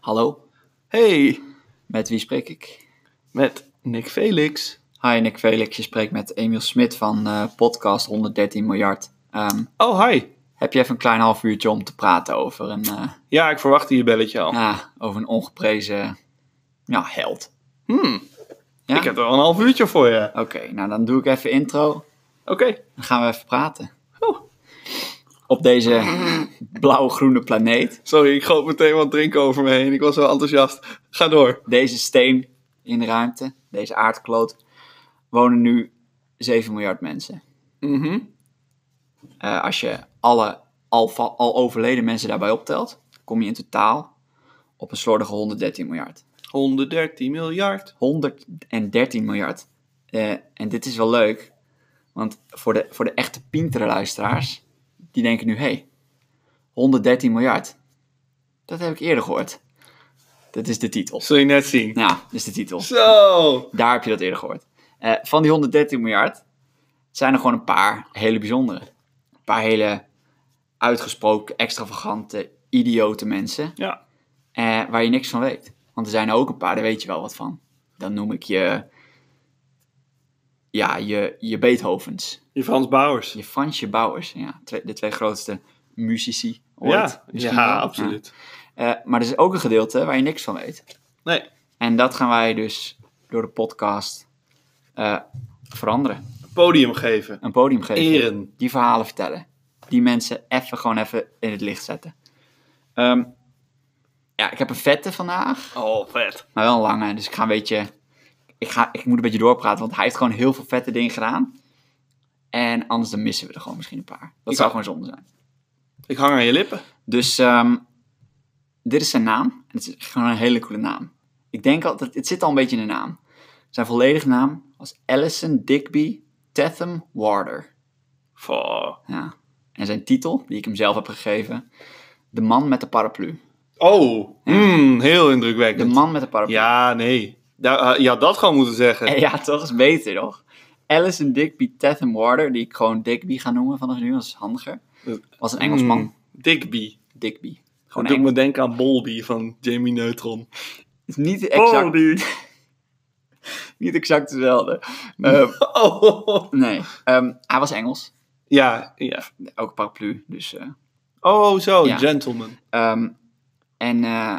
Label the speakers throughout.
Speaker 1: Hallo,
Speaker 2: Hey,
Speaker 1: met wie spreek ik?
Speaker 2: met Nick Felix.
Speaker 1: Hi, Nick Felix. Je spreekt met Emiel Smit van eh, podcast 113 miljard. Ehm,
Speaker 2: Oh, hi.
Speaker 1: heb je even een klein half uurtje om te praten over een, eh,
Speaker 2: Ja, ik verwachtte je belletje al.
Speaker 1: ah, over een ongeprezen ja, held?
Speaker 2: Hmm,
Speaker 1: Ja?
Speaker 2: ik heb er al een half uurtje voor je.
Speaker 1: Oké, nou dan doe ik even intro.
Speaker 2: Oké.
Speaker 1: Dan gaan we even praten.
Speaker 2: Oh.
Speaker 1: Op deze blauw-groene planeet.
Speaker 2: Sorry, ik goot meteen wat drinken over me heen. Ik was wel enthousiast. Ga door.
Speaker 1: Deze steen in de ruimte, deze aardkloot, wonen nu 7 miljard mensen.
Speaker 2: Mhm.
Speaker 1: Eh, als je alle al, va- al overleden mensen daarbij optelt, kom je in totaal op een slordige 113 miljard.
Speaker 2: 113 miljard.
Speaker 1: 113 miljard. Eh, en dit is wel leuk, want voor de, voor de echte pintere luisteraars, die denken nu, hé, hey, 113 miljard. Dat heb ik eerder gehoord. Dat is de titel.
Speaker 2: Zul je net zien.
Speaker 1: Nou, dat is de titel.
Speaker 2: Zo.
Speaker 1: Daar heb je dat eerder gehoord. Eh, van die 113 miljard zijn er gewoon een paar hele bijzondere. Een paar hele uitgesproken, extravagante, idiote mensen.
Speaker 2: Ja.
Speaker 1: eh, waar je niks van weet. Want er zijn er ook een paar, daar weet je wel wat van. Dan noem ik je. Ja, je, je Beethovens.
Speaker 2: Je Frans Bauers.
Speaker 1: Je Fransje Bouwers. Ja, twee- de twee grootste muzici ooit.
Speaker 2: Ja,
Speaker 1: misschien
Speaker 2: ja
Speaker 1: wel.
Speaker 2: nou? absoluut.
Speaker 1: Ja. Eh, maar er is ook een gedeelte waar je niks van weet.
Speaker 2: Nee,
Speaker 1: En dat gaan wij dus door de podcast eh, veranderen.
Speaker 2: podium geven.
Speaker 1: Een podium geven.
Speaker 2: Eren.
Speaker 1: Die verhalen vertellen. Die mensen even gewoon even in het licht zetten. Ehm, ja, ik heb een vette vandaag.
Speaker 2: Oh, vet.
Speaker 1: Maar wel een lange. Dus ik ga een beetje... Ik, ga, ik moet een beetje doorpraten. Want hij heeft gewoon heel veel vette dingen gedaan. En anders dan missen we er gewoon misschien een paar. Dat
Speaker 2: Ik
Speaker 1: zou
Speaker 2: hou-
Speaker 1: gewoon zonde zijn.
Speaker 2: Ik hang aan je lippen.
Speaker 1: Dus ehm, dit is zijn naam. En het is gewoon een hele coole naam. Ik denk altijd, het zit al een beetje in de naam. Zijn volledige naam was Allison Digby Tatham Warder.
Speaker 2: Voor-
Speaker 1: Ja. En zijn titel, die ik hem zelf heb gegeven, De man met de paraplu.
Speaker 2: Oh, mm, heel
Speaker 1: De
Speaker 2: indrukwekkend.
Speaker 1: man met de paraplu.
Speaker 2: Ja, nee. Ja, je had dat gewoon moeten zeggen.
Speaker 1: Eh, ja toch is beter, toch? Alison Digby Tatham Warder, die ik gewoon Digby ga noemen vanaf nu, dat is handiger. Was een Engelsman,
Speaker 2: Mm, Digby.
Speaker 1: Digby.
Speaker 2: Dat
Speaker 1: Gewoon
Speaker 2: doet
Speaker 1: Engels.
Speaker 2: me denken aan Bolby van Jamie Neutron.
Speaker 1: Het is niet exact, niet exact dezelfde. Ehm,
Speaker 2: Oh.
Speaker 1: nee, Ehm, hij was Engels.
Speaker 2: Ja, ja.
Speaker 1: Ook paraplu, dus... eh,
Speaker 2: Oh, zo,
Speaker 1: Ja.
Speaker 2: gentleman.
Speaker 1: ehm, en eh,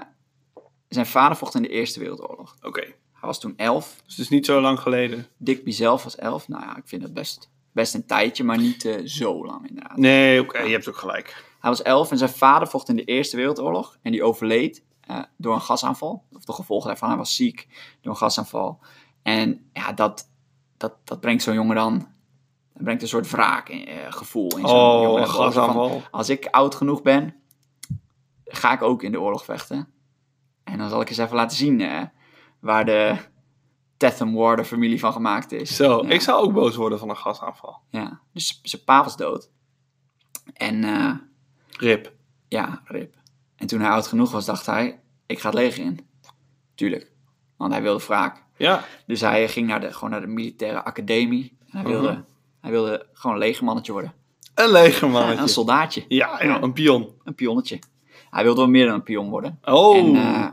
Speaker 1: zijn vader vocht in de Eerste Wereldoorlog.
Speaker 2: Oké,
Speaker 1: Hij was toen elf.
Speaker 2: dus het is niet zo lang geleden.
Speaker 1: Digby zelf was 11. Nou ja, ik vind dat best, best een tijdje, maar niet eh, zo lang inderdaad.
Speaker 2: Nee, oké, je hebt ook gelijk.
Speaker 1: Hij was 11 en zijn vader vocht in de Eerste Wereldoorlog. En die overleed eh, door een gasaanval. Of de gevolgen daarvan, hij was ziek door een gasaanval. En ja, dat, dat, dat brengt zo'n jongen dan... Dat brengt een soort wraakgevoel in zo'n
Speaker 2: Oh,
Speaker 1: jongen.
Speaker 2: een
Speaker 1: Gewoon van,
Speaker 2: gasaanval.
Speaker 1: Als ik oud genoeg ben, ga ik ook in de oorlog vechten. En dan zal ik eens even laten zien eh, waar de Tatham Warder familie van gemaakt is.
Speaker 2: Zo,
Speaker 1: Ja.
Speaker 2: ik zou ook boos worden van een gasaanval.
Speaker 1: Ja, dus zijn pa was dood. En eh,
Speaker 2: Rip.
Speaker 1: ja, rip. En toen hij oud genoeg was, dacht hij, ik ga het leger in. Tuurlijk, want hij wilde wraak.
Speaker 2: Ja,
Speaker 1: Dus hij ging naar de, gewoon naar de militaire academie. En hij, wilde,
Speaker 2: Mhm.
Speaker 1: hij wilde gewoon een legermannetje worden.
Speaker 2: een leger
Speaker 1: Ja, een
Speaker 2: mannetje.
Speaker 1: soldaatje,
Speaker 2: Ja, ja, een pion.
Speaker 1: een pionnetje. Hij wilde wel meer dan een pion worden.
Speaker 2: Oh,
Speaker 1: En eh,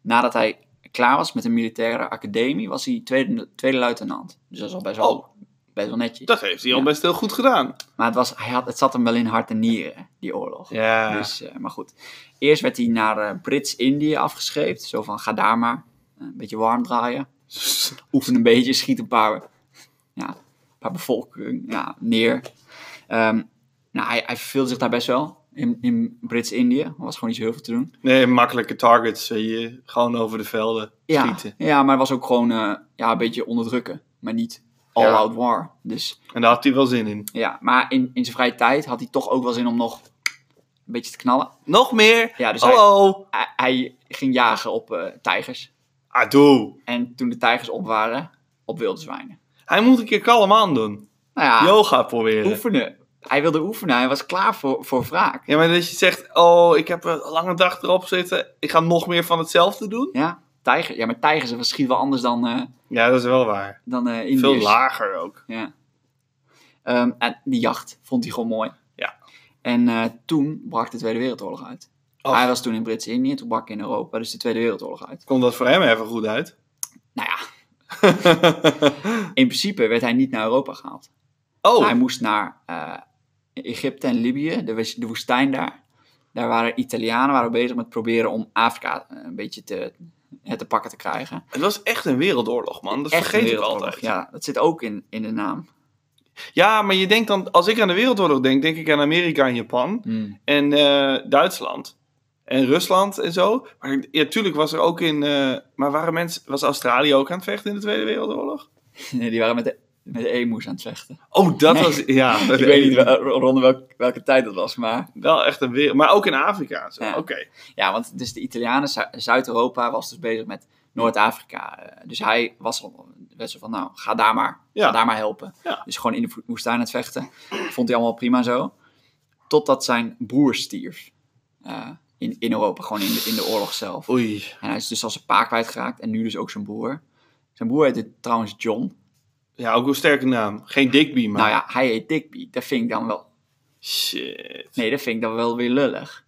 Speaker 1: nadat hij klaar was met de militaire academie, was hij tweede, tweede luitenant. Dus dat is al best wel,
Speaker 2: Oh.
Speaker 1: best wel netjes.
Speaker 2: dat heeft hij al
Speaker 1: ja.
Speaker 2: best heel goed gedaan.
Speaker 1: Maar het, was, hij had, het zat hem wel in hart en nieren, die oorlog.
Speaker 2: Ja,
Speaker 1: Dus, eh, maar goed. Eerst werd hij naar eh, Brits-Indië afgescheept. Zo van, ga daar maar. eh, Een beetje warm draaien.
Speaker 2: Dus,
Speaker 1: Oefen een beetje, schiet een paar, ja, een paar bevolking ja, neer. Ehm, nou, hij, hij verveelde zich daar best wel. In, in Brits-Indië. Er was gewoon niet zo heel veel te doen.
Speaker 2: nee, makkelijke targets. zie je, gewoon over de velden
Speaker 1: Ja,
Speaker 2: schieten.
Speaker 1: ja maar hij was ook gewoon eh, ja, een beetje onderdrukken. Maar niet all-out war. Dus
Speaker 2: En daar had hij wel zin in.
Speaker 1: ja, maar in, in zijn vrije tijd had hij toch ook wel zin om nog een beetje te knallen.
Speaker 2: Nog meer?
Speaker 1: Ja, dus hij-
Speaker 2: Hallo!
Speaker 1: Hij, hij ging jagen op eh, tijgers.
Speaker 2: Adoe!
Speaker 1: En toen de tijgers op waren, op wilde zwijnen.
Speaker 2: Hij moet een keer kalm aan doen.
Speaker 1: Nou ja,
Speaker 2: Yoga proberen.
Speaker 1: oefenen. Hij wilde oefenen, hij was klaar voor, voor wraak.
Speaker 2: Ja, maar dat je zegt, oh, ik heb een lange dag erop zitten. Ik ga nog meer van hetzelfde doen.
Speaker 1: Ja, tijger, ja maar tijgers zijn misschien wel anders dan, eh
Speaker 2: Ja, dat is wel waar.
Speaker 1: dan eh Indiërs.
Speaker 2: Veel lager ook.
Speaker 1: Ja. Ehm, en die jacht vond hij gewoon mooi.
Speaker 2: Ja.
Speaker 1: En eh, toen brak de Tweede Wereldoorlog uit.
Speaker 2: Och.
Speaker 1: Hij was toen in Brits-Indië, toen brak in Europa, dus de Tweede Wereldoorlog uit.
Speaker 2: Komt dat voor hem even goed uit?
Speaker 1: Nou ja, in principe werd hij niet naar Europa gehaald.
Speaker 2: oh,
Speaker 1: Hij moest naar eh, Egypte en Libië, de, wes- de woestijn daar. Daar waren Italianen waren bezig met proberen om Afrika eh, een beetje te, het te pakken te krijgen.
Speaker 2: het was echt een wereldoorlog, man. Dat
Speaker 1: Echt een
Speaker 2: vergeet ik
Speaker 1: wereldoorlog,
Speaker 2: altijd. Ja.
Speaker 1: Ja, dat zit ook in, in de naam.
Speaker 2: maar je denkt dan, als ik aan de wereldoorlog denk, denk ik aan Amerika en Japan en eh, Duitsland en Rusland en zo. Maar ja, tuurlijk was er ook in, eh, maar waren mensen, was Australië ook aan het vechten in de Tweede Wereldoorlog?
Speaker 1: Nee, die waren met de, met de emoes aan het vechten.
Speaker 2: Oh, dat
Speaker 1: Nee.
Speaker 2: was, ja.
Speaker 1: Ik weet niet wel- rond welk, welke tijd dat was, maar...
Speaker 2: Wel echt een wereld, maar ook in Afrika. en zo.
Speaker 1: Ja.
Speaker 2: Oké.
Speaker 1: Ja, want dus de Italianen, Zu- Zuid-Europa was dus bezig met Noord-Afrika. Eh, Dus hij was al best wel van, nou, ga daar maar,
Speaker 2: Ja.
Speaker 1: ga daar maar helpen.
Speaker 2: Ja.
Speaker 1: Dus gewoon in de woestijn aan het vechten. Vond hij allemaal prima zo. Totdat zijn broer stierf. Eh, in, in Europa, gewoon in de, in de oorlog zelf.
Speaker 2: Oei.
Speaker 1: En hij is dus als een paak kwijtgeraakt. En nu dus ook zijn broer. Zijn broer heette trouwens John.
Speaker 2: Ja, ook een sterke naam. Geen Digby, maar.
Speaker 1: Nou ja, hij heet Digby. Dat vind ik dan wel...
Speaker 2: Shit.
Speaker 1: Nee, dat vind ik dan wel weer lullig.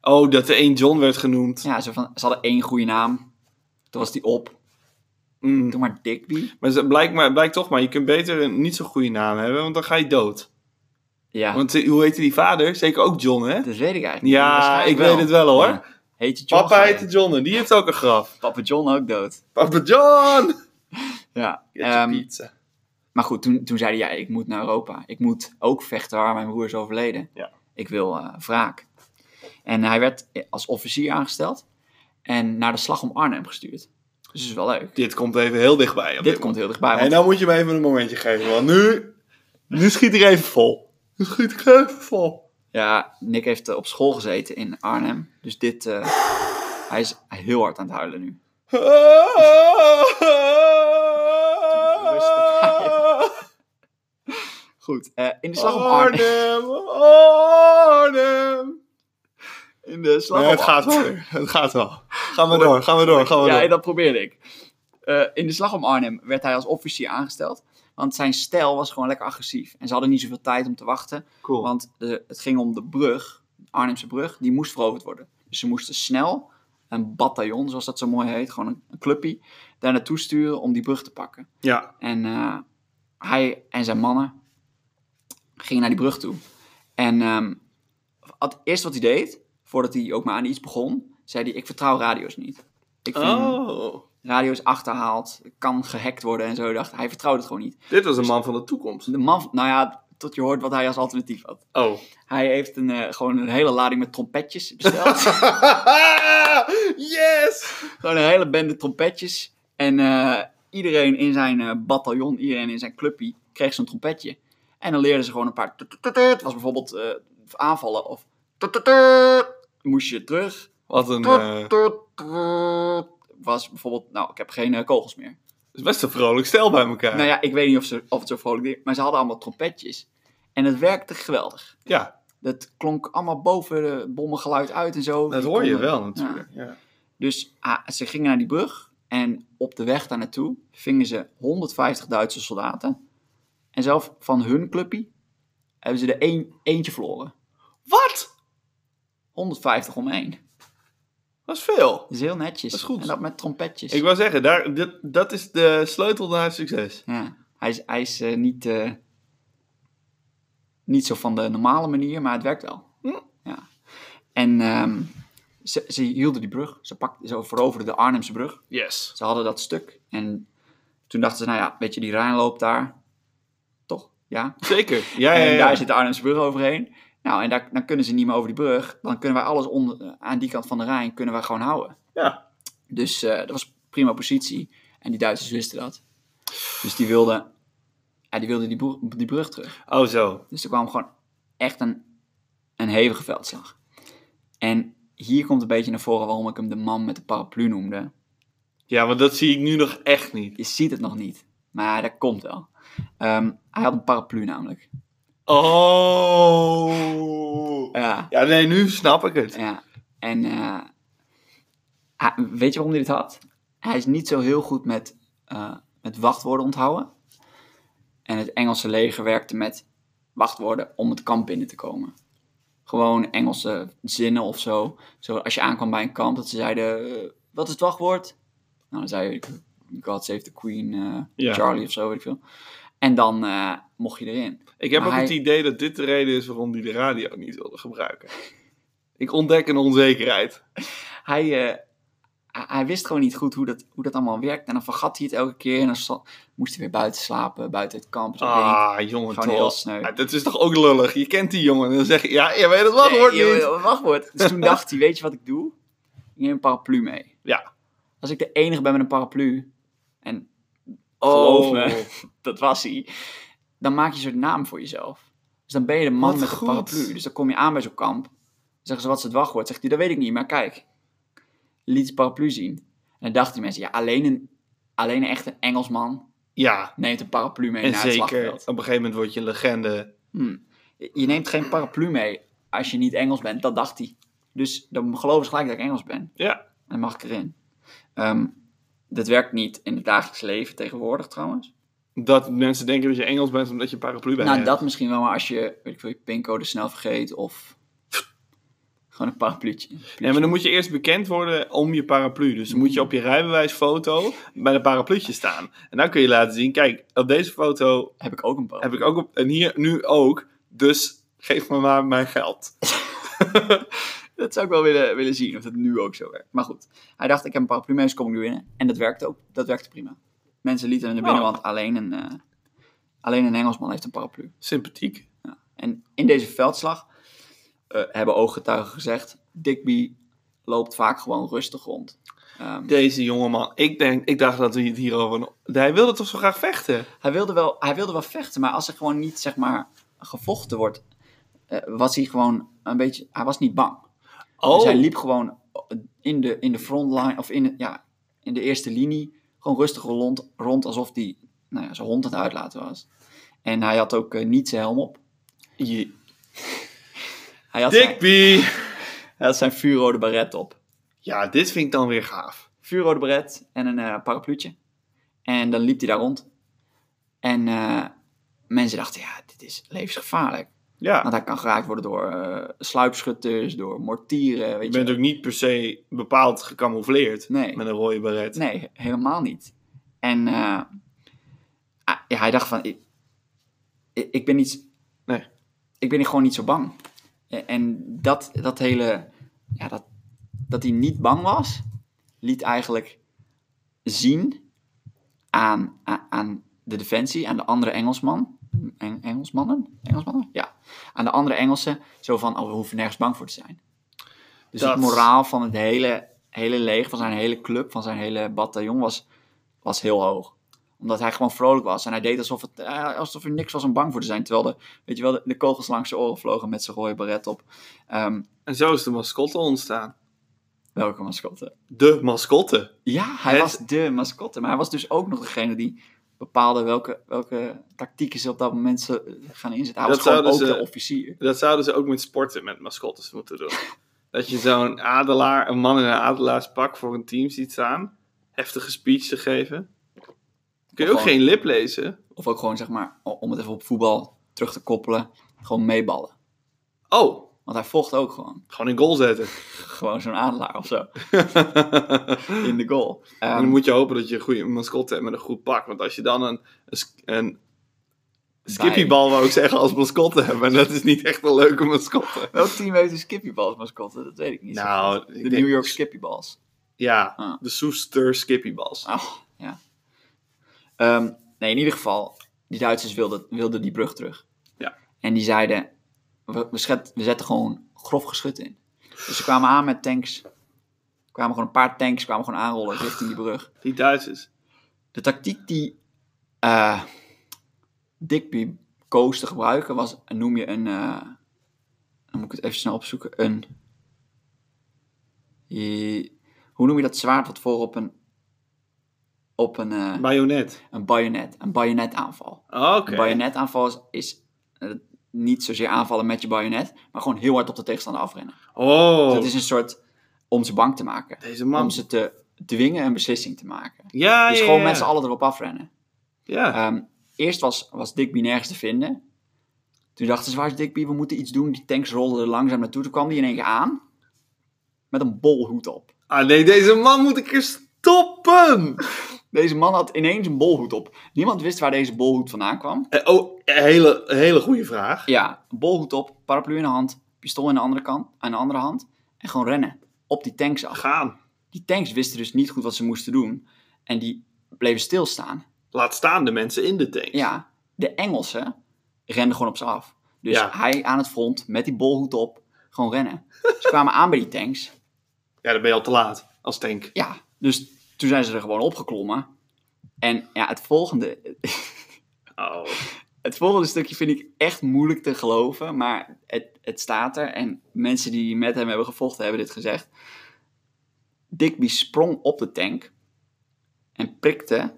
Speaker 2: Oh, dat de een John werd genoemd.
Speaker 1: Ja, ze, van, ze hadden één goede naam. Toen was die op.
Speaker 2: Mm.
Speaker 1: Doe maar Digby.
Speaker 2: Maar ze- blijkt maar- blijkt toch maar, je kunt beter een niet zo'n goede naam hebben, want dan ga je dood.
Speaker 1: Ja.
Speaker 2: Want eh, hoe heette die vader? Zeker ook John, hè?
Speaker 1: Dat weet ik eigenlijk niet.
Speaker 2: Ja,
Speaker 1: Waarschijnlijk
Speaker 2: ik weet het wel hoor.
Speaker 1: Ja. Heet je John?
Speaker 2: Papa
Speaker 1: ga je?
Speaker 2: heette John en die heeft ook een graf.
Speaker 1: Papa John ook dood.
Speaker 2: Papa John!
Speaker 1: Ja.
Speaker 2: Get your
Speaker 1: Ehm,
Speaker 2: pizza.
Speaker 1: maar goed, toen, toen zei hij, ja, ik moet naar Europa. Ik moet ook vechten waar mijn broer is overleden.
Speaker 2: Ja.
Speaker 1: Ik wil eh, wraak. En hij werd als officier aangesteld en naar de slag om Arnhem gestuurd. Dus dat is wel leuk.
Speaker 2: Dit komt even heel dichtbij. op
Speaker 1: Dit
Speaker 2: dit
Speaker 1: komt heel dichtbij.
Speaker 2: En
Speaker 1: Want
Speaker 2: nou moet je me even een momentje geven, want nu, nu schiet ik even vol. Nu schiet ik even vol.
Speaker 1: ja, Nick heeft eh, op school gezeten in Arnhem. Dus dit, eh, hij is heel hard aan het huilen nu. Goed, eh, in de slag om
Speaker 2: Oh,
Speaker 1: Arnhem.
Speaker 2: Arnhem, Arnhem.
Speaker 1: In de slag
Speaker 2: Nee,
Speaker 1: om
Speaker 2: het gaat wel. Het gaat wel. Gaan we door, gaan we door, gaan we
Speaker 1: Ja,
Speaker 2: door.
Speaker 1: dat probeerde ik. Eh, in de slag om Arnhem werd hij als officier aangesteld. Want zijn stijl was gewoon lekker agressief. En ze hadden niet zoveel tijd om te wachten.
Speaker 2: Cool.
Speaker 1: Want eh, het ging om de brug, de Arnhemse brug, die moest veroverd worden. Dus ze moesten snel een bataljon, zoals dat zo mooi heet, gewoon een, een clubje, daar naartoe sturen om die brug te pakken.
Speaker 2: ja.
Speaker 1: En eh, hij en zijn mannen gingen naar die brug toe. En ehm, het eerste wat hij deed, voordat hij ook maar aan iets begon, zei hij: Ik vertrouw radio's niet. Ik vind,
Speaker 2: Oh.
Speaker 1: radio is achterhaald, kan gehackt worden en zo. Ik Dacht, hij vertrouwde het gewoon niet.
Speaker 2: Dit was een man van de toekomst.
Speaker 1: De man, nou ja, tot je hoort wat hij als alternatief had.
Speaker 2: Oh.
Speaker 1: Hij heeft een, eh, gewoon een hele lading met trompetjes besteld.
Speaker 2: yes!
Speaker 1: gewoon een hele bende trompetjes. En eh, iedereen in zijn eh, bataljon, iedereen in zijn clubje, kreeg zo'n trompetje. En dan leerden ze gewoon een paar... tut, tut, tut. Het was bijvoorbeeld eh, aanvallen of... tut, tut, tut. Moest je terug.
Speaker 2: Wat een...
Speaker 1: Tut,
Speaker 2: eh,
Speaker 1: tut, tut. Was bijvoorbeeld... Nou, ik heb geen eh, kogels meer.
Speaker 2: is best een vrolijk stel bij elkaar.
Speaker 1: Nou ja, ik weet niet of, ze, of het zo vrolijk deed, maar ze hadden allemaal trompetjes. En het werkte geweldig.
Speaker 2: Ja,
Speaker 1: Dat klonk allemaal boven de bommengeluid uit en zo.
Speaker 2: dat
Speaker 1: Die
Speaker 2: hoor je
Speaker 1: konden-
Speaker 2: wel natuurlijk. Ja.
Speaker 1: Dus ah, ze gingen naar die brug en op de weg daar naartoe vingen ze 150 Duitse soldaten. En zelf van hun clubje hebben ze er één, eentje verloren.
Speaker 2: Wat?
Speaker 1: 150 om één.
Speaker 2: Dat is veel.
Speaker 1: Dat is heel netjes.
Speaker 2: Dat is goed.
Speaker 1: En dat met trompetjes.
Speaker 2: Ik wou zeggen, daar, dit, dat is de sleutel naar succes.
Speaker 1: Ja, hij is, hij is eh, niet, eh, niet zo van de normale manier, maar het werkt wel.
Speaker 2: Hm.
Speaker 1: Ja. En ehm, ze, ze hielden die brug. Ze, pakten, ze veroverden de Arnhemse brug.
Speaker 2: Yes.
Speaker 1: Ze hadden dat stuk. En toen dachten ze, nou ja, weet je, die Rijn loopt daar. Toch? Ja.
Speaker 2: Zeker. Ja, ja,
Speaker 1: En
Speaker 2: ja.
Speaker 1: daar zit de Arnhemse brug overheen. Nou, en daar, dan kunnen ze niet meer over die brug. Dan kunnen wij alles onder, eh, aan die kant van de Rijn kunnen wij gewoon houden.
Speaker 2: ja.
Speaker 1: Dus eh, dat was prima positie. En die Duitsers wisten dat. Dus die wilden, ja, die, wilden die, broer- die brug terug.
Speaker 2: Oh zo.
Speaker 1: Dus er kwam gewoon echt een, een hevige veldslag. En hier komt een beetje naar voren waarom ik hem de man met de paraplu noemde.
Speaker 2: Ja, want dat zie ik nu nog echt niet.
Speaker 1: Je ziet het nog niet, maar dat komt wel. Ehm, hij had een paraplu namelijk.
Speaker 2: Oh.
Speaker 1: Ja.
Speaker 2: Ja, nee, nu snap ik het.
Speaker 1: ja. En eh, hij- weet je waarom hij dit had? Hij is niet zo heel goed met, eh, met wachtwoorden onthouden. En het Engelse leger werkte met wachtwoorden om het kamp binnen te komen. gewoon Engelse zinnen of zo. zo. Als je aankwam bij een kamp, dat ze zeiden, eh, wat is het wachtwoord? Nou, dan zei je, God Save the Queen, eh,
Speaker 2: Ja.
Speaker 1: Charlie of zo, weet ik veel. En dan eh, mocht je erin.
Speaker 2: Ik heb
Speaker 1: Maar
Speaker 2: ook
Speaker 1: hij-
Speaker 2: het idee dat dit de reden is waarom die de radio niet wilde gebruiken. Ik ontdek een onzekerheid.
Speaker 1: hij, eh, hij- hij wist gewoon niet goed hoe dat, hoe dat allemaal werkt. En dan vergat hij het elke keer. En dan sta- moest hij weer buiten slapen, buiten het kamp. Dus ik weet niet.
Speaker 2: Ah, jongen,
Speaker 1: Gewoon heel
Speaker 2: toch.
Speaker 1: sneu.
Speaker 2: Ah, dat is toch ook lullig? Je kent die jongen en dan zeg je, ja, je weet het wachtwoord
Speaker 1: Nee, joh,
Speaker 2: niet.
Speaker 1: joh, wachtwoord. Dus toen dacht hij, weet je wat ik doe? Ik neem een paraplu mee.
Speaker 2: Ja.
Speaker 1: Als ik de enige ben met een paraplu. En
Speaker 2: Oh,
Speaker 1: geloof me, dat was hij. Dan maak je een soort naam voor jezelf. Dus dan ben je de man
Speaker 2: Wat
Speaker 1: met
Speaker 2: goed.
Speaker 1: de paraplu. Dus dan kom je aan bij zo'n kamp. Dan zeggen ze, wat is het wachtwoord? Zegt hij, dat weet ik niet, maar kijk. Liet zijn paraplu zien. En dan dachten die mensen, ja, alleen een, alleen een echte Engelsman
Speaker 2: ja.
Speaker 1: neemt een paraplu mee
Speaker 2: En
Speaker 1: naar nou, het
Speaker 2: zeker, op
Speaker 1: slagveld.
Speaker 2: een gegeven moment word je legende.
Speaker 1: Hmm. Je je neemt geen paraplu mee als je niet Engels bent, dat dacht hij. Dus dan geloven ze gelijk dat ik Engels ben.
Speaker 2: Ja.
Speaker 1: En mag ik erin. Ehm, dat werkt niet in het dagelijks leven tegenwoordig trouwens.
Speaker 2: Dat mensen denken dat je Engels bent omdat je een paraplu bij
Speaker 1: nou,
Speaker 2: hebt.
Speaker 1: dat misschien wel, maar als je, weet ik veel, je pincode snel vergeet of gewoon een parapluutje.
Speaker 2: Nee, maar dan moet je eerst bekend worden om je paraplu. Dus dan moet je op je rijbewijsfoto bij een parapluutje staan. En dan kun je laten zien, kijk, op deze foto
Speaker 1: Heb ik ook een paraplu.
Speaker 2: heb ik ook op, en hier nu ook. Dus geef me maar mijn geld.
Speaker 1: Dat zou ik wel willen, willen zien, of dat nu ook zo werkt. Maar goed, hij dacht, ik heb een paraplu mee, dus kom ik nu binnen. En dat werkte ook, dat werkte prima. Mensen lieten in de
Speaker 2: Oh.
Speaker 1: binnenwand alleen een, eh, alleen een Engelsman heeft een paraplu.
Speaker 2: Sympathiek.
Speaker 1: En in deze veldslag eh, hebben ooggetuigen gezegd, Digby loopt vaak gewoon rustig rond. Ehm,
Speaker 2: Deze jongeman, ik, denk, ik dacht dat hij het hierover... Hij wilde toch zo graag vechten?
Speaker 1: hij, wilde wel, hij wilde wel vechten, maar als er gewoon niet, zeg maar, gevochten wordt, eh, was hij gewoon een beetje, hij was niet bang.
Speaker 2: Oh,
Speaker 1: Dus hij liep gewoon in de, in de frontline, of in, het- ja, in de eerste linie, gewoon rustig rond, rond alsof hij nou ja, zijn hond aan het uitlaten was. En hij had ook eh, niet zijn helm op.
Speaker 2: je-
Speaker 1: Hij had, zijn,
Speaker 2: Digby!
Speaker 1: hij had zijn vuurrode baret op.
Speaker 2: Ja, dit vind ik dan weer gaaf.
Speaker 1: Vuurrode baret en een eh parapluutje. En dan liep hij daar rond. En eh, mensen dachten, ja, dit is levensgevaarlijk.
Speaker 2: Ja,
Speaker 1: Want hij kan geraakt worden door eh, sluipschutters, door mortieren,
Speaker 2: je
Speaker 1: weet je
Speaker 2: bent ook niet per se bepaald gecamoufleerd
Speaker 1: Nee.
Speaker 2: met een rode baret.
Speaker 1: Nee, helemaal niet. En eh, ah, ja, hij dacht van, ik, ik, ik ben niet,
Speaker 2: Nee.
Speaker 1: ik ben hier gewoon niet zo bang. E- En dat, dat hele, ja, dat, dat hij niet bang was, liet eigenlijk zien aan, aan, aan de defensie, aan de andere Engelsman, Eng- Engelsmannen, Engelsmannen, ja, aan de andere Engelsen, zo van, oh, we hoeven nergens bang voor te zijn. Dus
Speaker 2: Dat-
Speaker 1: het moraal van het hele, hele leger, van zijn hele club, van zijn hele bataljon was, was heel hoog. Omdat hij gewoon vrolijk was. En hij deed alsof, het, eh, alsof er niks was om bang voor te zijn. Terwijl de, weet je wel, de, de kogels langs zijn oren vlogen met zijn rode baret op. Ehm,
Speaker 2: En zo is de mascotte ontstaan.
Speaker 1: welke mascotte?
Speaker 2: De mascotte.
Speaker 1: Ja, hij
Speaker 2: Het-
Speaker 1: was de mascotte. Maar hij was dus ook nog degene die bepaalde welke, welke tactieken ze op dat moment ze eh, gaan inzetten. Hij
Speaker 2: Dat
Speaker 1: was gewoon ook
Speaker 2: zouden ze-
Speaker 1: de officier.
Speaker 2: Dat zouden ze ook met sporten met mascottes moeten doen. Dat je zo'n adelaar, een man in een adelaarspak voor een team ziet staan. Heftige speech te geven. Kun je ook
Speaker 1: Of gewoon-
Speaker 2: geen lip lezen?
Speaker 1: Of ook gewoon, zeg maar, o- om het even op voetbal terug te koppelen, gewoon meeballen.
Speaker 2: Oh,
Speaker 1: Want hij vocht ook gewoon.
Speaker 2: gewoon in goal zetten.
Speaker 1: Gewoon zo'n adelaar of zo.
Speaker 2: en
Speaker 1: in de goal. Ehm,
Speaker 2: dan moet je hopen dat je een goede mascotte hebt met een goed pak. Want als je dan een, een, sk- een skippiebal, wou ik zeggen, als mascotte hebt. En dat is niet echt een leuke mascotte.
Speaker 1: welk team heeft een Skippybal als mascotte? Dat weet ik niet. zo
Speaker 2: Nou,
Speaker 1: goed. de
Speaker 2: ik denk-
Speaker 1: New York Skippyballs.
Speaker 2: Ja,
Speaker 1: Ah.
Speaker 2: de Soester skippiebals.
Speaker 1: Ah, ja. Ehm, nee, in ieder geval, die Duitsers wilden, wilden die brug terug.
Speaker 2: Ja.
Speaker 1: En die zeiden, we, we, schet- we zetten gewoon grof geschut in. Dus ze kwamen aan met tanks. kwamen gewoon een paar tanks, kwamen gewoon aanrollen richting die brug.
Speaker 2: Die Duitsers.
Speaker 1: De tactiek die eh Digby koos te gebruiken was, noem je een, eh, dan moet ik het even snel opzoeken, een, je- hoe noem je dat zwaard wat voor op een, op een, eh,
Speaker 2: Bajonet.
Speaker 1: een bajonet, een bajonetaanval.
Speaker 2: Oké.
Speaker 1: Een bajonetaanval is, is eh, niet zozeer aanvallen met je bajonet, maar gewoon heel hard op de tegenstander afrennen.
Speaker 2: Oh,
Speaker 1: Dus het is een soort om ze bang te maken.
Speaker 2: deze man.
Speaker 1: Om ze te dwingen een beslissing te maken.
Speaker 2: Ja,
Speaker 1: Dus
Speaker 2: ja,
Speaker 1: gewoon
Speaker 2: ja.
Speaker 1: met z'n allen erop afrennen.
Speaker 2: Ja.
Speaker 1: Ehm, eerst was, was Digby nergens te vinden. Toen dachten ze, waar is Digby? We moeten iets doen. Die tanks rolden er langzaam naartoe. Toen kwam die in één keer aan. Met een bolhoed op.
Speaker 2: Ah nee, deze man moet ik er stoppen!
Speaker 1: Deze man had ineens een bolhoed op. Niemand wist waar deze bolhoed vandaan kwam.
Speaker 2: Eh, oh, eh, hele, hele goede vraag.
Speaker 1: Ja, bolhoed op, paraplu in de hand, pistool in de andere kant, aan de andere hand. En gewoon rennen. Op die tanks af.
Speaker 2: Gaan.
Speaker 1: Die tanks wisten dus niet goed wat ze moesten doen. En die bleven stilstaan.
Speaker 2: Laat staan de mensen in de tank.
Speaker 1: Ja, de Engelsen renden gewoon op ze af. Dus
Speaker 2: Ja.
Speaker 1: hij aan het front, met die bolhoed op, gewoon rennen. Ze kwamen aan bij die tanks.
Speaker 2: Ja, dan ben je al te laat als tank.
Speaker 1: Ja, dus toen zijn ze er gewoon opgeklommen. En ja, het volgende,
Speaker 2: Oh.
Speaker 1: het volgende stukje vind ik echt moeilijk te geloven. Maar het, het staat er. En mensen die met hem hebben gevochten hebben dit gezegd. Digby sprong op de tank. En prikte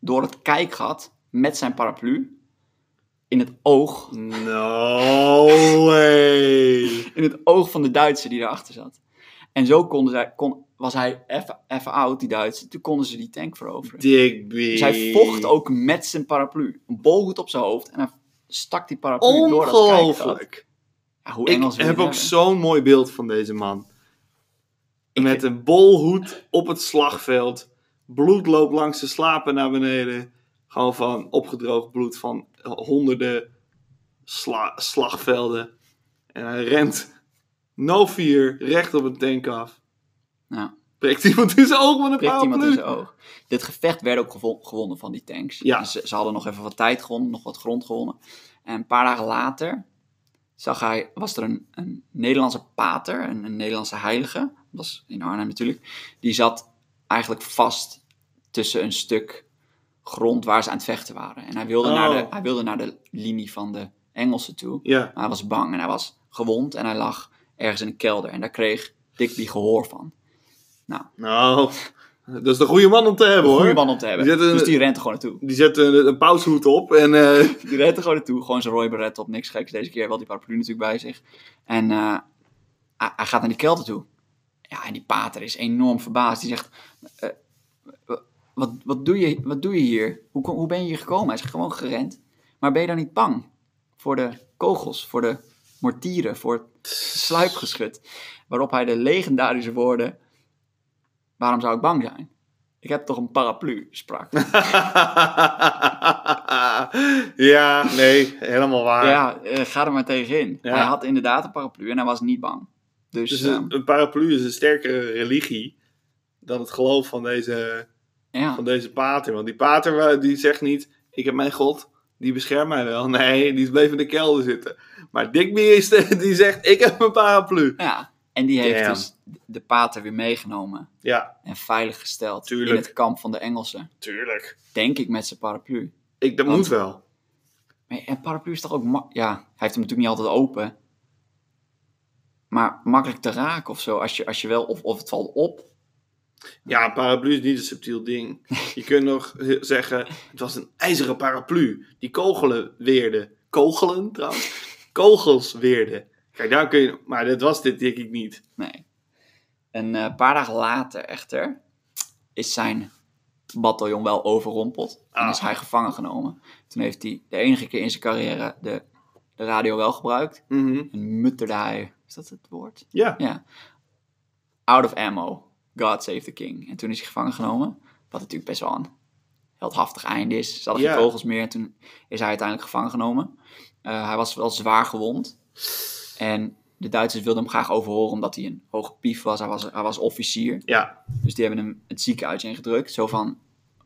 Speaker 1: door het kijkgat met zijn paraplu. In het oog
Speaker 2: No way.
Speaker 1: in het oog van de Duitser die erachter zat. En zo konden zij, kon, was hij even- even oud, die Duitser. Toen konden ze die tank veroveren.
Speaker 2: Digby.
Speaker 1: Dus hij vocht ook met zijn paraplu. Een bolhoed op zijn hoofd en hij stak die paraplu door dat kijkgat.
Speaker 2: Ongelooflijk.
Speaker 1: Ja, hoe
Speaker 2: Ik
Speaker 1: Engels wil je
Speaker 2: heb
Speaker 1: het
Speaker 2: ook
Speaker 1: hebben?
Speaker 2: zo'n mooi beeld van deze man. Met een bolhoed op het slagveld. Bloed loopt langs de slapen naar beneden. Gewoon van opgedroogd bloed van honderden sla- slagvelden. En hij rent no fear recht op een tank af.
Speaker 1: Ja,
Speaker 2: Prikt iemand in zijn oog met een
Speaker 1: prikt iemand in zijn
Speaker 2: paraplu.
Speaker 1: oog. Dit gevecht werd ook gevo- gewonnen van die tanks.
Speaker 2: Ja.
Speaker 1: Dus Ze, ze hadden nog even wat tijd gewonnen, nog wat grond gewonnen. En een paar dagen later zag hij, was er een, een Nederlandse pater, een, een Nederlandse heilige, dat was in Arnhem natuurlijk, die zat eigenlijk vast tussen een stuk grond waar ze aan het vechten waren. En hij wilde,
Speaker 2: Oh.
Speaker 1: naar, de, hij wilde naar de linie van de Engelsen toe.
Speaker 2: Ja.
Speaker 1: Maar hij was bang en hij was gewond en hij lag ergens in een kelder. En daar kreeg Digby gehoor van.
Speaker 2: Nou, dat is de goede man om te hebben
Speaker 1: Een
Speaker 2: hoor.
Speaker 1: goede man om te hebben.
Speaker 2: Die zet een-
Speaker 1: Dus die rent er gewoon naartoe.
Speaker 2: Die zet een, een paushoed op en eh,
Speaker 1: Die rent er gewoon naartoe. Gewoon zijn rode beret op, niks geks. Deze keer wel die paraplu natuurlijk bij zich. En eh, hij, hij gaat naar die kelder toe. Ja, en die pater is enorm verbaasd. Die zegt, eh, wa- wat, wat, doe je, wat doe je hier? Hoe, kom- hoe ben je hier gekomen? Hij is gewoon gerend. Maar ben je dan niet bang voor de kogels, voor de mortieren, voor het sluipgeschut? Waarop hij de legendarische woorden, waarom zou ik bang zijn? Ik heb toch een paraplu, sprak.
Speaker 2: ja, nee, helemaal waar.
Speaker 1: Ja, eh, ga er maar tegenin.
Speaker 2: Ja.
Speaker 1: Hij had inderdaad een paraplu en hij was niet bang. Dus,
Speaker 2: Dus
Speaker 1: ehm,
Speaker 2: een, een paraplu is een sterkere religie dan het geloof van deze,
Speaker 1: ja.
Speaker 2: van deze pater. Want die pater eh, die zegt niet, ik heb mijn god, die beschermt mij wel. Nee, die bleef in de kelder zitten. Maar Digby is de- die zegt, ik heb een paraplu.
Speaker 1: ja. En die heeft
Speaker 2: Damn.
Speaker 1: dus de pater weer meegenomen
Speaker 2: Ja,
Speaker 1: en veilig gesteld in
Speaker 2: Tuurlijk.
Speaker 1: het kamp van de Engelsen.
Speaker 2: tuurlijk.
Speaker 1: Denk ik met zijn paraplu.
Speaker 2: Ik, dat
Speaker 1: Want-
Speaker 2: moet wel.
Speaker 1: Maar een paraplu is toch ook... ma- Ja, hij heeft hem natuurlijk niet altijd open. Maar makkelijk te raken of zo. Als je, als je wel... Of, of het valt op.
Speaker 2: Ja, een paraplu is niet een subtiel ding. Je kunt nog he- zeggen, het was een ijzeren paraplu. Die kogelen weerden. Kogelen trouwens? Kogels weerden. Kijk, daar kun je... Maar dat was dit denk ik niet.
Speaker 1: Nee. Een eh, paar dagen later echter is zijn bataljon wel overrompeld en
Speaker 2: Ah.
Speaker 1: is hij gevangen genomen. Toen heeft hij de enige keer in zijn carrière de, de radio wel gebruikt
Speaker 2: Mhm.
Speaker 1: en mutterde hij, is dat het woord?
Speaker 2: Ja.
Speaker 1: Ja. Out of ammo, God save the king. En toen is hij gevangen genomen, wat natuurlijk best wel een heldhaftig einde is. Ze hadden
Speaker 2: Ja.
Speaker 1: geen vogels meer en toen is hij uiteindelijk gevangen genomen. Eh, hij was wel zwaar gewond en de Duitsers wilden hem graag overhoren omdat hij een hoge pief was. Hij was, hij was officier.
Speaker 2: Ja,
Speaker 1: Dus die hebben hem het ziekenhuis ingedrukt. Zo van,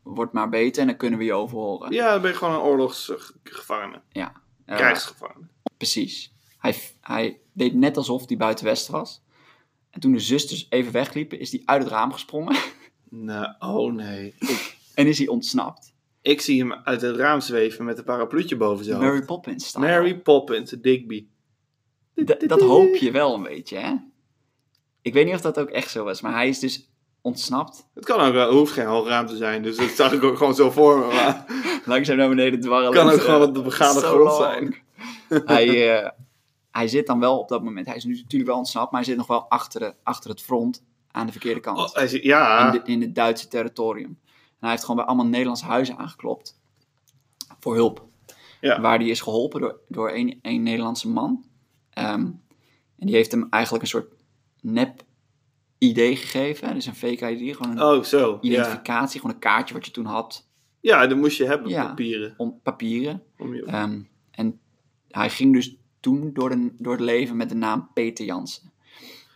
Speaker 1: word maar beter en dan kunnen we je overhoren.
Speaker 2: ja dan ben je gewoon een oorlogsgevangene.
Speaker 1: Ja. Eh,
Speaker 2: Krijgsgevangene.
Speaker 1: precies. Hij, hij deed net alsof hij buiten Westen was. En toen de zusters even wegliepen, is hij uit het raam gesprongen.
Speaker 2: Nou, oh nee. Ik,
Speaker 1: En is hij ontsnapt.
Speaker 2: ik zie hem uit het raam zweven met een parapluutje boven zijn hoofd.
Speaker 1: Mary Poppins staat.
Speaker 2: Mary Poppins, Digby.
Speaker 1: D- dat hoop je wel een beetje, hè? Ik weet niet of dat ook echt zo was, maar hij is dus ontsnapt.
Speaker 2: Het kan ook, wel- hoeft geen hoog raam te zijn, dus dat zag ik ook gewoon zo voor me. maar-
Speaker 1: Langzaam naar beneden dwarrelen.
Speaker 2: Kan ook gewoon op de begane
Speaker 1: eh, Zo
Speaker 2: grond
Speaker 1: lang.
Speaker 2: zijn.
Speaker 1: Hij, eh, hij zit dan wel op dat moment. Hij is nu natuurlijk wel ontsnapt, maar hij zit nog wel achter, de, achter het front aan de verkeerde kant.
Speaker 2: Oh, hij zegt, ja.
Speaker 1: in, de- in het Duitse territorium. En hij heeft gewoon bij allemaal Nederlandse huizen aangeklopt. Voor hulp.
Speaker 2: Ja.
Speaker 1: Waar die is geholpen door, door een, een Nederlandse man. Ehm, en die heeft hem eigenlijk een soort nep-ID gegeven. Dus een fake ID, gewoon een
Speaker 2: Oh, zo. Ja.
Speaker 1: identificatie. Gewoon een kaartje wat je toen had.
Speaker 2: ja, dat moest je hebben,
Speaker 1: Ja.
Speaker 2: papieren.
Speaker 1: Om papieren.
Speaker 2: Om je...
Speaker 1: Ehm, en hij ging dus toen door, de, door het leven met de naam Peter Jansen.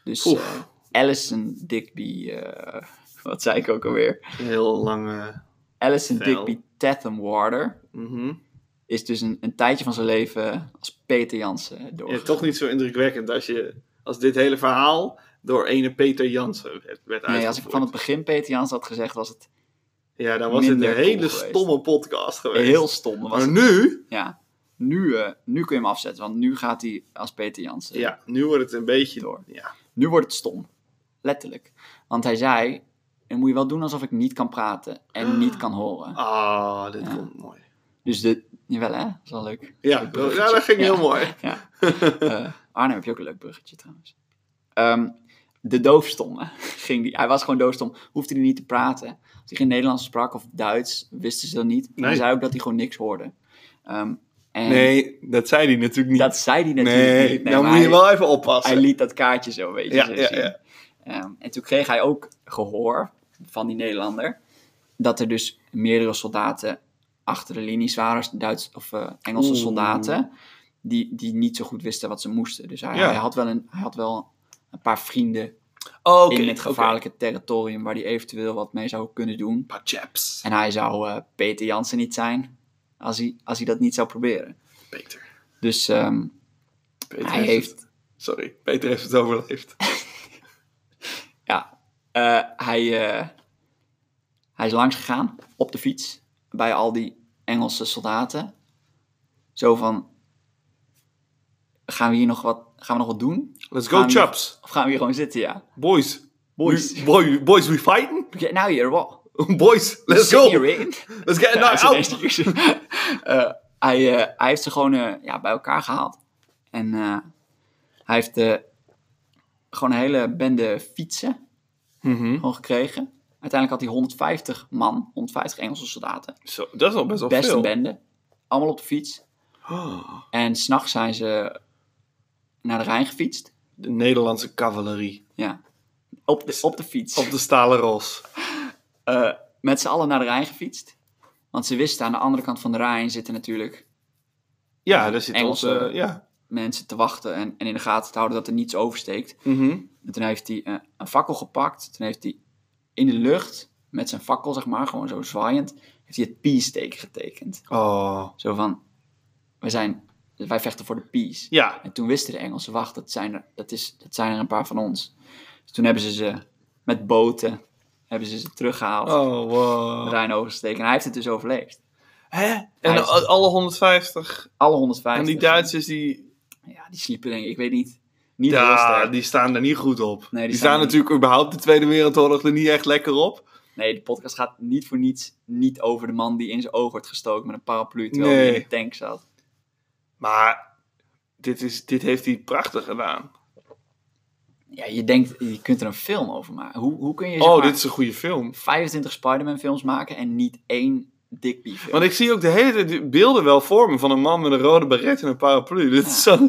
Speaker 1: Dus
Speaker 2: Oef.
Speaker 1: eh, Alison Digby, eh, wat zei ik ook alweer?
Speaker 2: Een heel lange...
Speaker 1: Alison
Speaker 2: Vel.
Speaker 1: Digby Tatham Warder
Speaker 2: Mhm.
Speaker 1: is dus een, een tijdje van zijn leven als Peter Jansen door.
Speaker 2: Ja, toch niet zo indrukwekkend als, je, als dit hele verhaal door ene Peter Jansen werd, werd uitgevoerd.
Speaker 1: nee, als ik van het begin Peter Jansen had gezegd, was het
Speaker 2: Ja, dan was het een
Speaker 1: minder cool
Speaker 2: hele
Speaker 1: geweest.
Speaker 2: stomme podcast geweest.
Speaker 1: heel stom. Dan Was
Speaker 2: maar
Speaker 1: het-
Speaker 2: nu...
Speaker 1: ja. nu, eh, nu kun je hem afzetten, want nu gaat hij als Peter Jansen.
Speaker 2: Ja, nu wordt het een beetje...
Speaker 1: Door.
Speaker 2: Ja.
Speaker 1: Nu wordt het stom. Letterlijk. Want hij zei, dan moet je wel doen alsof ik niet kan praten en niet kan horen.
Speaker 2: Ah, dit
Speaker 1: Ja.
Speaker 2: komt mooi.
Speaker 1: Dus de, jawel hè, dat is wel leuk. Leuk
Speaker 2: Ja, dat,
Speaker 1: bruggetje.
Speaker 2: ja, dat ging
Speaker 1: Ja.
Speaker 2: heel mooi.
Speaker 1: Ja. Eh, Arnhem heb je ook een leuk bruggetje trouwens. Ehm, de doofstomme ging die. Hij was gewoon doofstom, hoefde hij niet te praten. Als hij geen Nederlands sprak of Duits, wisten ze dat niet. En Hij
Speaker 2: Nee.
Speaker 1: zei ook dat hij gewoon niks hoorde. Ehm, en
Speaker 2: Nee, dat zei hij natuurlijk niet.
Speaker 1: dat zei hij natuurlijk
Speaker 2: nee,
Speaker 1: niet.
Speaker 2: dan
Speaker 1: maar
Speaker 2: Nou moet je
Speaker 1: hij-
Speaker 2: wel even oppassen.
Speaker 1: hij liet dat kaartje zo, weet je.
Speaker 2: Ja,
Speaker 1: zo
Speaker 2: ja,
Speaker 1: zien.
Speaker 2: ja.
Speaker 1: Ehm, en toen kreeg hij ook gehoor van die Nederlander. Dat er dus meerdere soldaten achter de linies waren, Duits of eh, Engelse
Speaker 2: Oeh.
Speaker 1: soldaten. Die, die niet zo goed wisten wat ze moesten. Dus hij,
Speaker 2: Ja.
Speaker 1: hij, had, wel een, hij had wel een paar vrienden
Speaker 2: Oh, oké,
Speaker 1: in het
Speaker 2: oké.
Speaker 1: gevaarlijke territorium waar hij eventueel wat mee zou kunnen doen.
Speaker 2: Paar chaps.
Speaker 1: En hij zou eh, Peter Jansen niet zijn als hij, als hij dat niet zou proberen.
Speaker 2: Peter.
Speaker 1: Dus ehm,
Speaker 2: Peter
Speaker 1: Hij heeft-
Speaker 2: het- sorry, Peter heeft het overleefd.
Speaker 1: Ja, eh, hij, eh, hij is langs gegaan op de fiets bij al die Engelse soldaten. Zo van, gaan we hier nog wat, gaan we nog wat doen?
Speaker 2: Let's
Speaker 1: Gaan
Speaker 2: go,
Speaker 1: we-
Speaker 2: chaps.
Speaker 1: Of gaan we hier gewoon zitten, ja?
Speaker 2: Boys.
Speaker 1: Boys.
Speaker 2: We, boy, boys, we fighting?
Speaker 1: Get now you're what?
Speaker 2: Boys, let's
Speaker 1: Sit
Speaker 2: go.
Speaker 1: here in.
Speaker 2: Let's get it
Speaker 1: Ja,
Speaker 2: knocked
Speaker 1: hij
Speaker 2: out.
Speaker 1: is ineens hier. Eh, hij, eh, hij heeft ze gewoon eh, ja, bij elkaar gehaald. En eh, hij heeft eh, gewoon een hele bende fietsen
Speaker 2: Mhm.
Speaker 1: gewoon gekregen. Uiteindelijk had hij 150 man, 150 Engelse soldaten.
Speaker 2: Zo, dat is nog best wel
Speaker 1: Best
Speaker 2: veel.
Speaker 1: een bende. Allemaal op de fiets.
Speaker 2: Oh,
Speaker 1: En s'nachts zijn ze naar de Rijn gefietst.
Speaker 2: de Nederlandse cavalerie.
Speaker 1: Ja. Op de, op de fiets.
Speaker 2: Op de stalen ros.
Speaker 1: Eh, met z'n allen naar de Rijn gefietst. Want ze wisten aan de andere kant van de Rijn zitten natuurlijk
Speaker 2: Ja, daar zit
Speaker 1: Engelse-
Speaker 2: onze... ja.
Speaker 1: mensen te wachten. En, en in de gaten te houden dat er niets oversteekt.
Speaker 2: Mhm.
Speaker 1: En toen heeft hij eh, een fakkel gepakt. Toen heeft hij in de lucht met zijn fakkel, zeg maar, gewoon zo zwaaiend. Heeft hij het peace-teken getekend.
Speaker 2: Oh.
Speaker 1: Zo van, we zijn, wij vechten voor de peace.
Speaker 2: Ja.
Speaker 1: En toen wisten de Engelsen, wacht, dat zijn er, dat is, dat zijn er een paar van ons. Dus toen hebben ze ze met boten, hebben ze ze teruggehaald,
Speaker 2: Oh,
Speaker 1: de
Speaker 2: wow.
Speaker 1: Rijn oversteken. En hij heeft het dus overleefd.
Speaker 2: Hè?
Speaker 1: Hij
Speaker 2: En
Speaker 1: is-
Speaker 2: al- alle 150.
Speaker 1: Alle 150.
Speaker 2: En die Duitsers, die...
Speaker 1: Ja, die sliepen denk ik, ik weet niet. Niet heel
Speaker 2: Ja,
Speaker 1: sterk.
Speaker 2: die staan er niet goed op.
Speaker 1: Nee,
Speaker 2: die, staan natuurlijk überhaupt de Tweede Wereldoorlog er niet echt lekker op.
Speaker 1: Nee, de podcast gaat niet voor niets niet over de man die in zijn oog wordt gestoken met een paraplu terwijl hij
Speaker 2: Nee.
Speaker 1: in de tank zat.
Speaker 2: Maar dit, is, dit heeft hij prachtig gedaan.
Speaker 1: Ja, je denkt, je kunt er een film over maken. Hoe, hoe kun je zeg
Speaker 2: Oh,
Speaker 1: maar,
Speaker 2: dit is een goede film.
Speaker 1: 25 Spider-Man films maken en niet één Digby film?
Speaker 2: Want ik zie ook de hele tijd die beelden wel voor me van een man met een rode baret en een paraplu. Dit is, zo...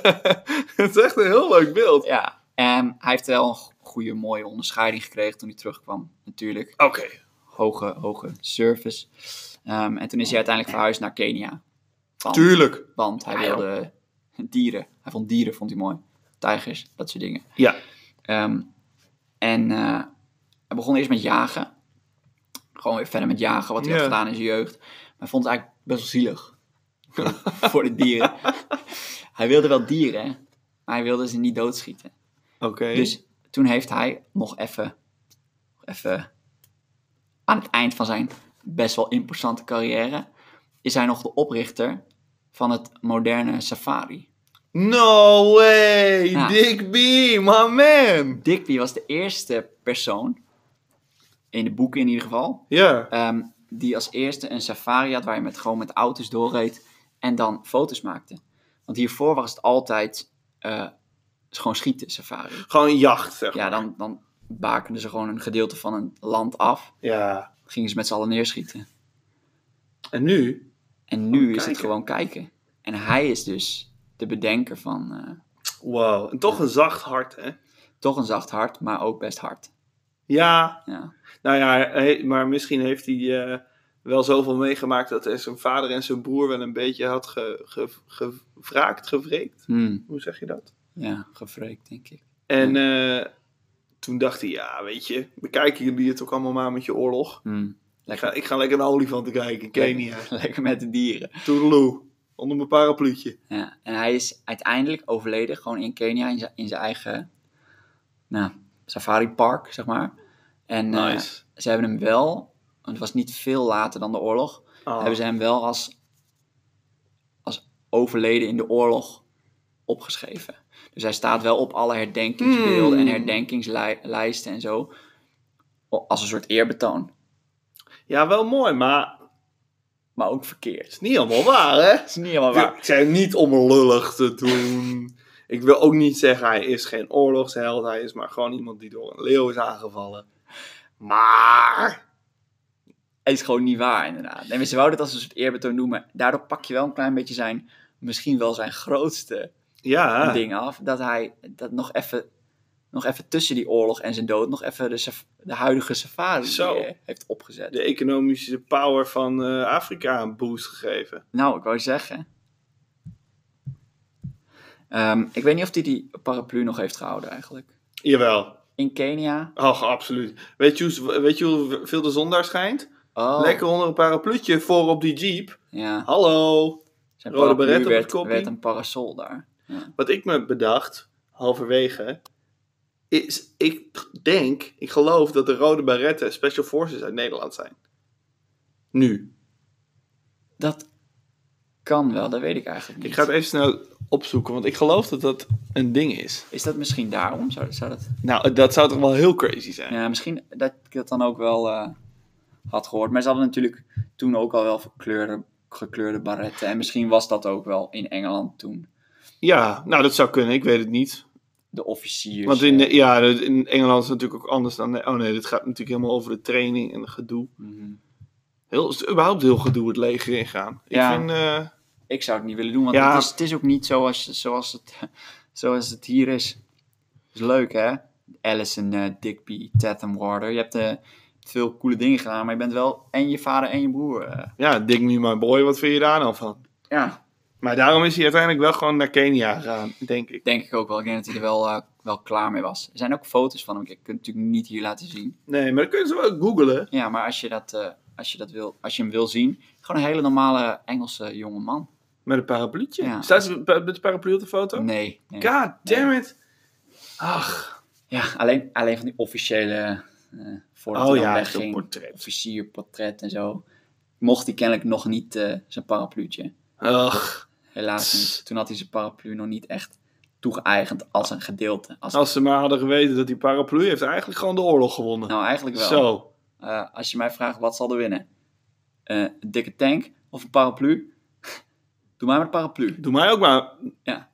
Speaker 2: het is echt een heel leuk beeld.
Speaker 1: Ja, en hij heeft wel een go- goede, mooie onderscheiding gekregen toen hij terugkwam, natuurlijk.
Speaker 2: Oké.
Speaker 1: Hoge, hoge service. Ehm, en toen is hij uiteindelijk verhuisd naar Kenia. Want,
Speaker 2: Tuurlijk.
Speaker 1: want hij
Speaker 2: Ja, joh.
Speaker 1: wilde dieren. Hij vond dieren vond hij mooi. Tijgers, dat soort dingen.
Speaker 2: Ja.
Speaker 1: Ehm, en eh, hij begon eerst met jagen. Gewoon weer verder met jagen, wat hij had
Speaker 2: Ja.
Speaker 1: gedaan in zijn jeugd. Maar hij vond het eigenlijk best wel zielig. voor de dieren. hij wilde wel dieren, maar hij wilde ze niet doodschieten.
Speaker 2: Oké.
Speaker 1: Dus toen heeft hij nog even, even aan het eind van zijn best wel imposante carrière, is hij nog de oprichter van het moderne safari.
Speaker 2: No way,
Speaker 1: Ja.
Speaker 2: Dick B, my man.
Speaker 1: Digby was de eerste persoon, in de boeken in ieder geval,
Speaker 2: Ja.
Speaker 1: ehm, die als eerste een safari had waar je met, gewoon met auto's doorreed en dan foto's maakte. Want hiervoor was het altijd eh, gewoon schieten safari.
Speaker 2: Gewoon jacht, zeg maar.
Speaker 1: Ja, dan, dan bakenden ze gewoon een gedeelte van een land af
Speaker 2: Ja.
Speaker 1: gingen ze met z'n allen neerschieten.
Speaker 2: En nu?
Speaker 1: En nu
Speaker 2: Oh,
Speaker 1: is het
Speaker 2: kijken.
Speaker 1: gewoon kijken. En hij is dus de bedenker van eh,
Speaker 2: Wow. En toch een zacht hart, hè?
Speaker 1: toch een zacht hart, maar ook best hard.
Speaker 2: Ja.
Speaker 1: Ja.
Speaker 2: Nou ja, he- maar misschien heeft hij eh, wel zoveel meegemaakt dat hij zijn vader en zijn broer wel een beetje had ge, ge, gevraagd, gevreekt.
Speaker 1: Hmm,
Speaker 2: Hoe zeg je dat?
Speaker 1: ja, gevreekt denk ik.
Speaker 2: En eh, toen dacht hij, ja, weet je, bekijken jullie het ook allemaal maar met je oorlog.
Speaker 1: Hmm,
Speaker 2: Ik
Speaker 1: lekker,
Speaker 2: ga, ik ga lekker naar olifanten kijken, Kenia.
Speaker 1: lekker met de dieren.
Speaker 2: eh, Toedeloe. Onder mijn parapluutje.
Speaker 1: Ja. En hij is uiteindelijk overleden, gewoon in Kenia, in zijn- in zijn eigen nou, safari park, zeg maar. En eh,
Speaker 2: Nice.
Speaker 1: ze hebben hem wel, want het was niet veel later dan de oorlog,
Speaker 2: Ah.
Speaker 1: hebben ze hem wel als, als overleden in de oorlog opgeschreven. Dus hij staat wel op alle herdenkingsbeelden
Speaker 2: Hmm.
Speaker 1: en herdenkingslijsten en zo. o- Als een soort eerbetoon.
Speaker 2: Ja, wel mooi, maar
Speaker 1: Maar ook
Speaker 2: het
Speaker 1: verkeerd.
Speaker 2: is niet allemaal waar, hè?
Speaker 1: Dat is niet helemaal
Speaker 2: Ik wil- Ik zei niet om lullig te doen. Ik wil ook niet zeggen hij is geen oorlogsheld. Hij is maar gewoon iemand die door een leeuw is aangevallen. Maar...
Speaker 1: Het is gewoon niet waar, inderdaad. Nee, maar ze wouden het als een soort eerbetoon doen, maar daardoor pak je wel een klein beetje zijn, misschien wel zijn grootste
Speaker 2: Ja,
Speaker 1: ding af. Dat hij dat nog even, nog even tussen die oorlog en zijn dood, nog even de, saf- de huidige safari
Speaker 2: Zo.
Speaker 1: eh, heeft opgezet.
Speaker 2: de economische power van eh, Afrika een boost gegeven.
Speaker 1: Nou, ik wou zeggen. Ehm, ik weet niet of hij die paraplu nog heeft gehouden eigenlijk.
Speaker 2: Jawel.
Speaker 1: In Kenia.
Speaker 2: Oh, absoluut. Weet je, hoe- weet je hoeveel de zon daar schijnt?
Speaker 1: Oh,
Speaker 2: Lekker onder een parapluutje voor op die jeep.
Speaker 1: Ja.
Speaker 2: Hallo.
Speaker 1: Zijn
Speaker 2: Rode
Speaker 1: paraplu
Speaker 2: beret op het
Speaker 1: werd,
Speaker 2: koppie.
Speaker 1: werd een parasol daar.
Speaker 2: Wat ik me bedacht, halverwege, is ik denk, ik geloof dat de rode baretten special forces uit Nederland zijn. Nu.
Speaker 1: Dat kan wel, dat weet ik eigenlijk niet.
Speaker 2: Ik ga het even snel opzoeken, want ik geloof dat dat een ding is.
Speaker 1: Is dat misschien daarom? Zou, zou dat...
Speaker 2: Nou, dat zou toch wel heel crazy zijn.
Speaker 1: Ja, misschien dat ik dat dan ook wel eh, had gehoord. Maar ze hadden natuurlijk toen ook al wel gekleurde, gekleurde barretten. En misschien was dat ook wel in Engeland toen.
Speaker 2: Ja, nou dat zou kunnen, ik weet het
Speaker 1: Dus,
Speaker 2: niet.
Speaker 1: De officiers.
Speaker 2: Want in,
Speaker 1: eh,
Speaker 2: eh, ja, in Engeland is het natuurlijk ook anders dan... Oh nee, dit gaat natuurlijk helemaal over de training en het gedoe.
Speaker 1: mhm.
Speaker 2: Heel, het is überhaupt heel gedoe het leger ingaan. Ik
Speaker 1: Ja.
Speaker 2: vind... eh,
Speaker 1: Ik zou het niet willen doen, want
Speaker 2: Ja.
Speaker 1: het, is, het is ook niet zoals, zoals, het, zoals het hier is. is leuk, hè? Allison, eh, Digby, Tatham Warder. Je hebt eh, veel coole dingen gedaan, maar je bent wel en je vader en je broer. eh.
Speaker 2: ja, Dig Me My Boy, wat vind je daar nou van?
Speaker 1: ja,
Speaker 2: Maar daarom is hij uiteindelijk wel gewoon naar Kenia gegaan, denk ik.
Speaker 1: denk ik ook wel. Ik denk dat hij er wel, eh, wel klaar mee was. Er zijn ook foto's van hem. Ik kan het natuurlijk niet hier laten zien.
Speaker 2: Nee, maar dan kunnen ze wel googlen.
Speaker 1: Ja, maar als je, dat, eh, als je, dat wil, als je hem wil zien, gewoon een hele normale Engelse jonge man.
Speaker 2: Met een parapluutje.
Speaker 1: Ja.
Speaker 2: Staat ze met met de paraplu op de foto?
Speaker 1: Nee. nee.
Speaker 2: God damn it. Ach.
Speaker 1: Ja, alleen, alleen van die officiële. eh voordat
Speaker 2: Oh
Speaker 1: hij dan
Speaker 2: ja,
Speaker 1: wegging.
Speaker 2: zo'n portret.
Speaker 1: officierportret en zo. Mocht hij kennelijk nog niet eh, zijn parapluutje.
Speaker 2: Ach.
Speaker 1: Helaas niet. Toen had hij zijn paraplu nog niet echt toegeëigend als een gedeelte. Als,
Speaker 2: Als ze maar hadden geweten dat die paraplu heeft eigenlijk gewoon de oorlog gewonnen.
Speaker 1: nou, eigenlijk wel.
Speaker 2: Zo.
Speaker 1: Eh, als je mij vraagt, wat zal er winnen? Eh, een dikke tank of een paraplu? Doe maar met een paraplu.
Speaker 2: Doe mij ook maar
Speaker 1: Ja.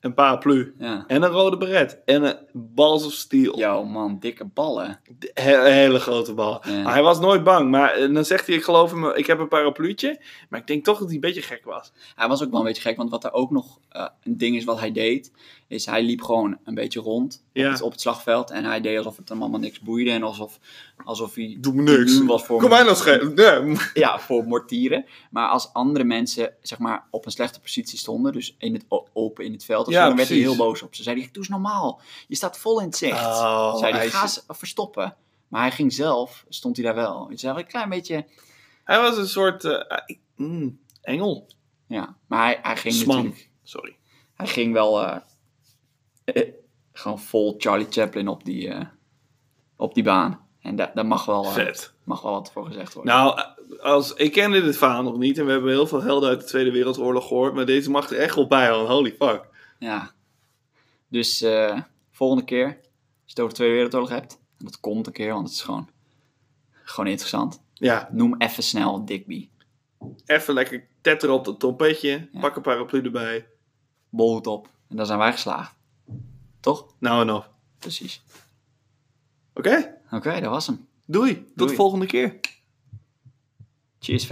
Speaker 2: een paraplu.
Speaker 1: Ja.
Speaker 2: En een rode beret. En een balls of steel.
Speaker 1: Yo, man, dikke ballen.
Speaker 2: De- he- hele grote bal.
Speaker 1: Ja.
Speaker 2: Maar Hij was nooit bang. Maar eh, dan zegt hij, ik geloof hem, ik heb een parapluutje. Maar ik denk toch dat hij een beetje gek was.
Speaker 1: Hij was ook wel een beetje gek, want wat er ook nog eh, een ding is wat hij deed, is hij liep gewoon een beetje rond
Speaker 2: Ja.
Speaker 1: op, het, op het slagveld en hij deed alsof het hem allemaal niks boeide en alsof, alsof hij
Speaker 2: Doe me niks.
Speaker 1: immuun was voor,
Speaker 2: Kom mij nou schrijven. Nee.
Speaker 1: ja, voor mortieren. Maar als andere mensen zeg maar, op een slechte positie stonden, dus in het o- open in het veld, of
Speaker 2: Ja,
Speaker 1: zo, dan werd hij heel
Speaker 2: precies.
Speaker 1: boos op ze. Zei hij, doe eens normaal, je staat vol in het zicht.
Speaker 2: Oh,
Speaker 1: zei hij,
Speaker 2: hij
Speaker 1: ga
Speaker 2: is-
Speaker 1: eens verstoppen. Maar hij ging zelf, stond hij daar wel. Het is wel een klein beetje,
Speaker 2: Hij was een soort eh, ik- mm, engel.
Speaker 1: ja. Maar hij, hij ging
Speaker 2: Sman.
Speaker 1: natuurlijk
Speaker 2: Sorry.
Speaker 1: Hij ging wel eh, eh, gewoon vol Charlie Chaplin op die, eh, op die baan. En da- daar mag, wel, eh,
Speaker 2: Vet.
Speaker 1: mag wel wat voor gezegd worden.
Speaker 2: Nou, eh, als, ik kende dit verhaal nog niet en we hebben heel veel helden uit de Tweede Wereldoorlog gehoord, maar deze mag er echt wel bij, man. Holy fuck.
Speaker 1: Ja. Dus eh, volgende keer, als je het over de Tweede Wereldoorlog hebt, en dat komt een keer, want het is gewoon, gewoon interessant.
Speaker 2: Ja,
Speaker 1: Noem even snel Digby.
Speaker 2: even lekker tetteren op dat trompetje,
Speaker 1: Ja.
Speaker 2: pak een paraplu erbij.
Speaker 1: Bolhoed op. En dan zijn wij geslaagd. Toch?
Speaker 2: Nou en of.
Speaker 1: Precies.
Speaker 2: Oké,
Speaker 1: Oké, dat was hem.
Speaker 2: doei. Tot
Speaker 1: Doei.
Speaker 2: de volgende keer.
Speaker 1: Cheers.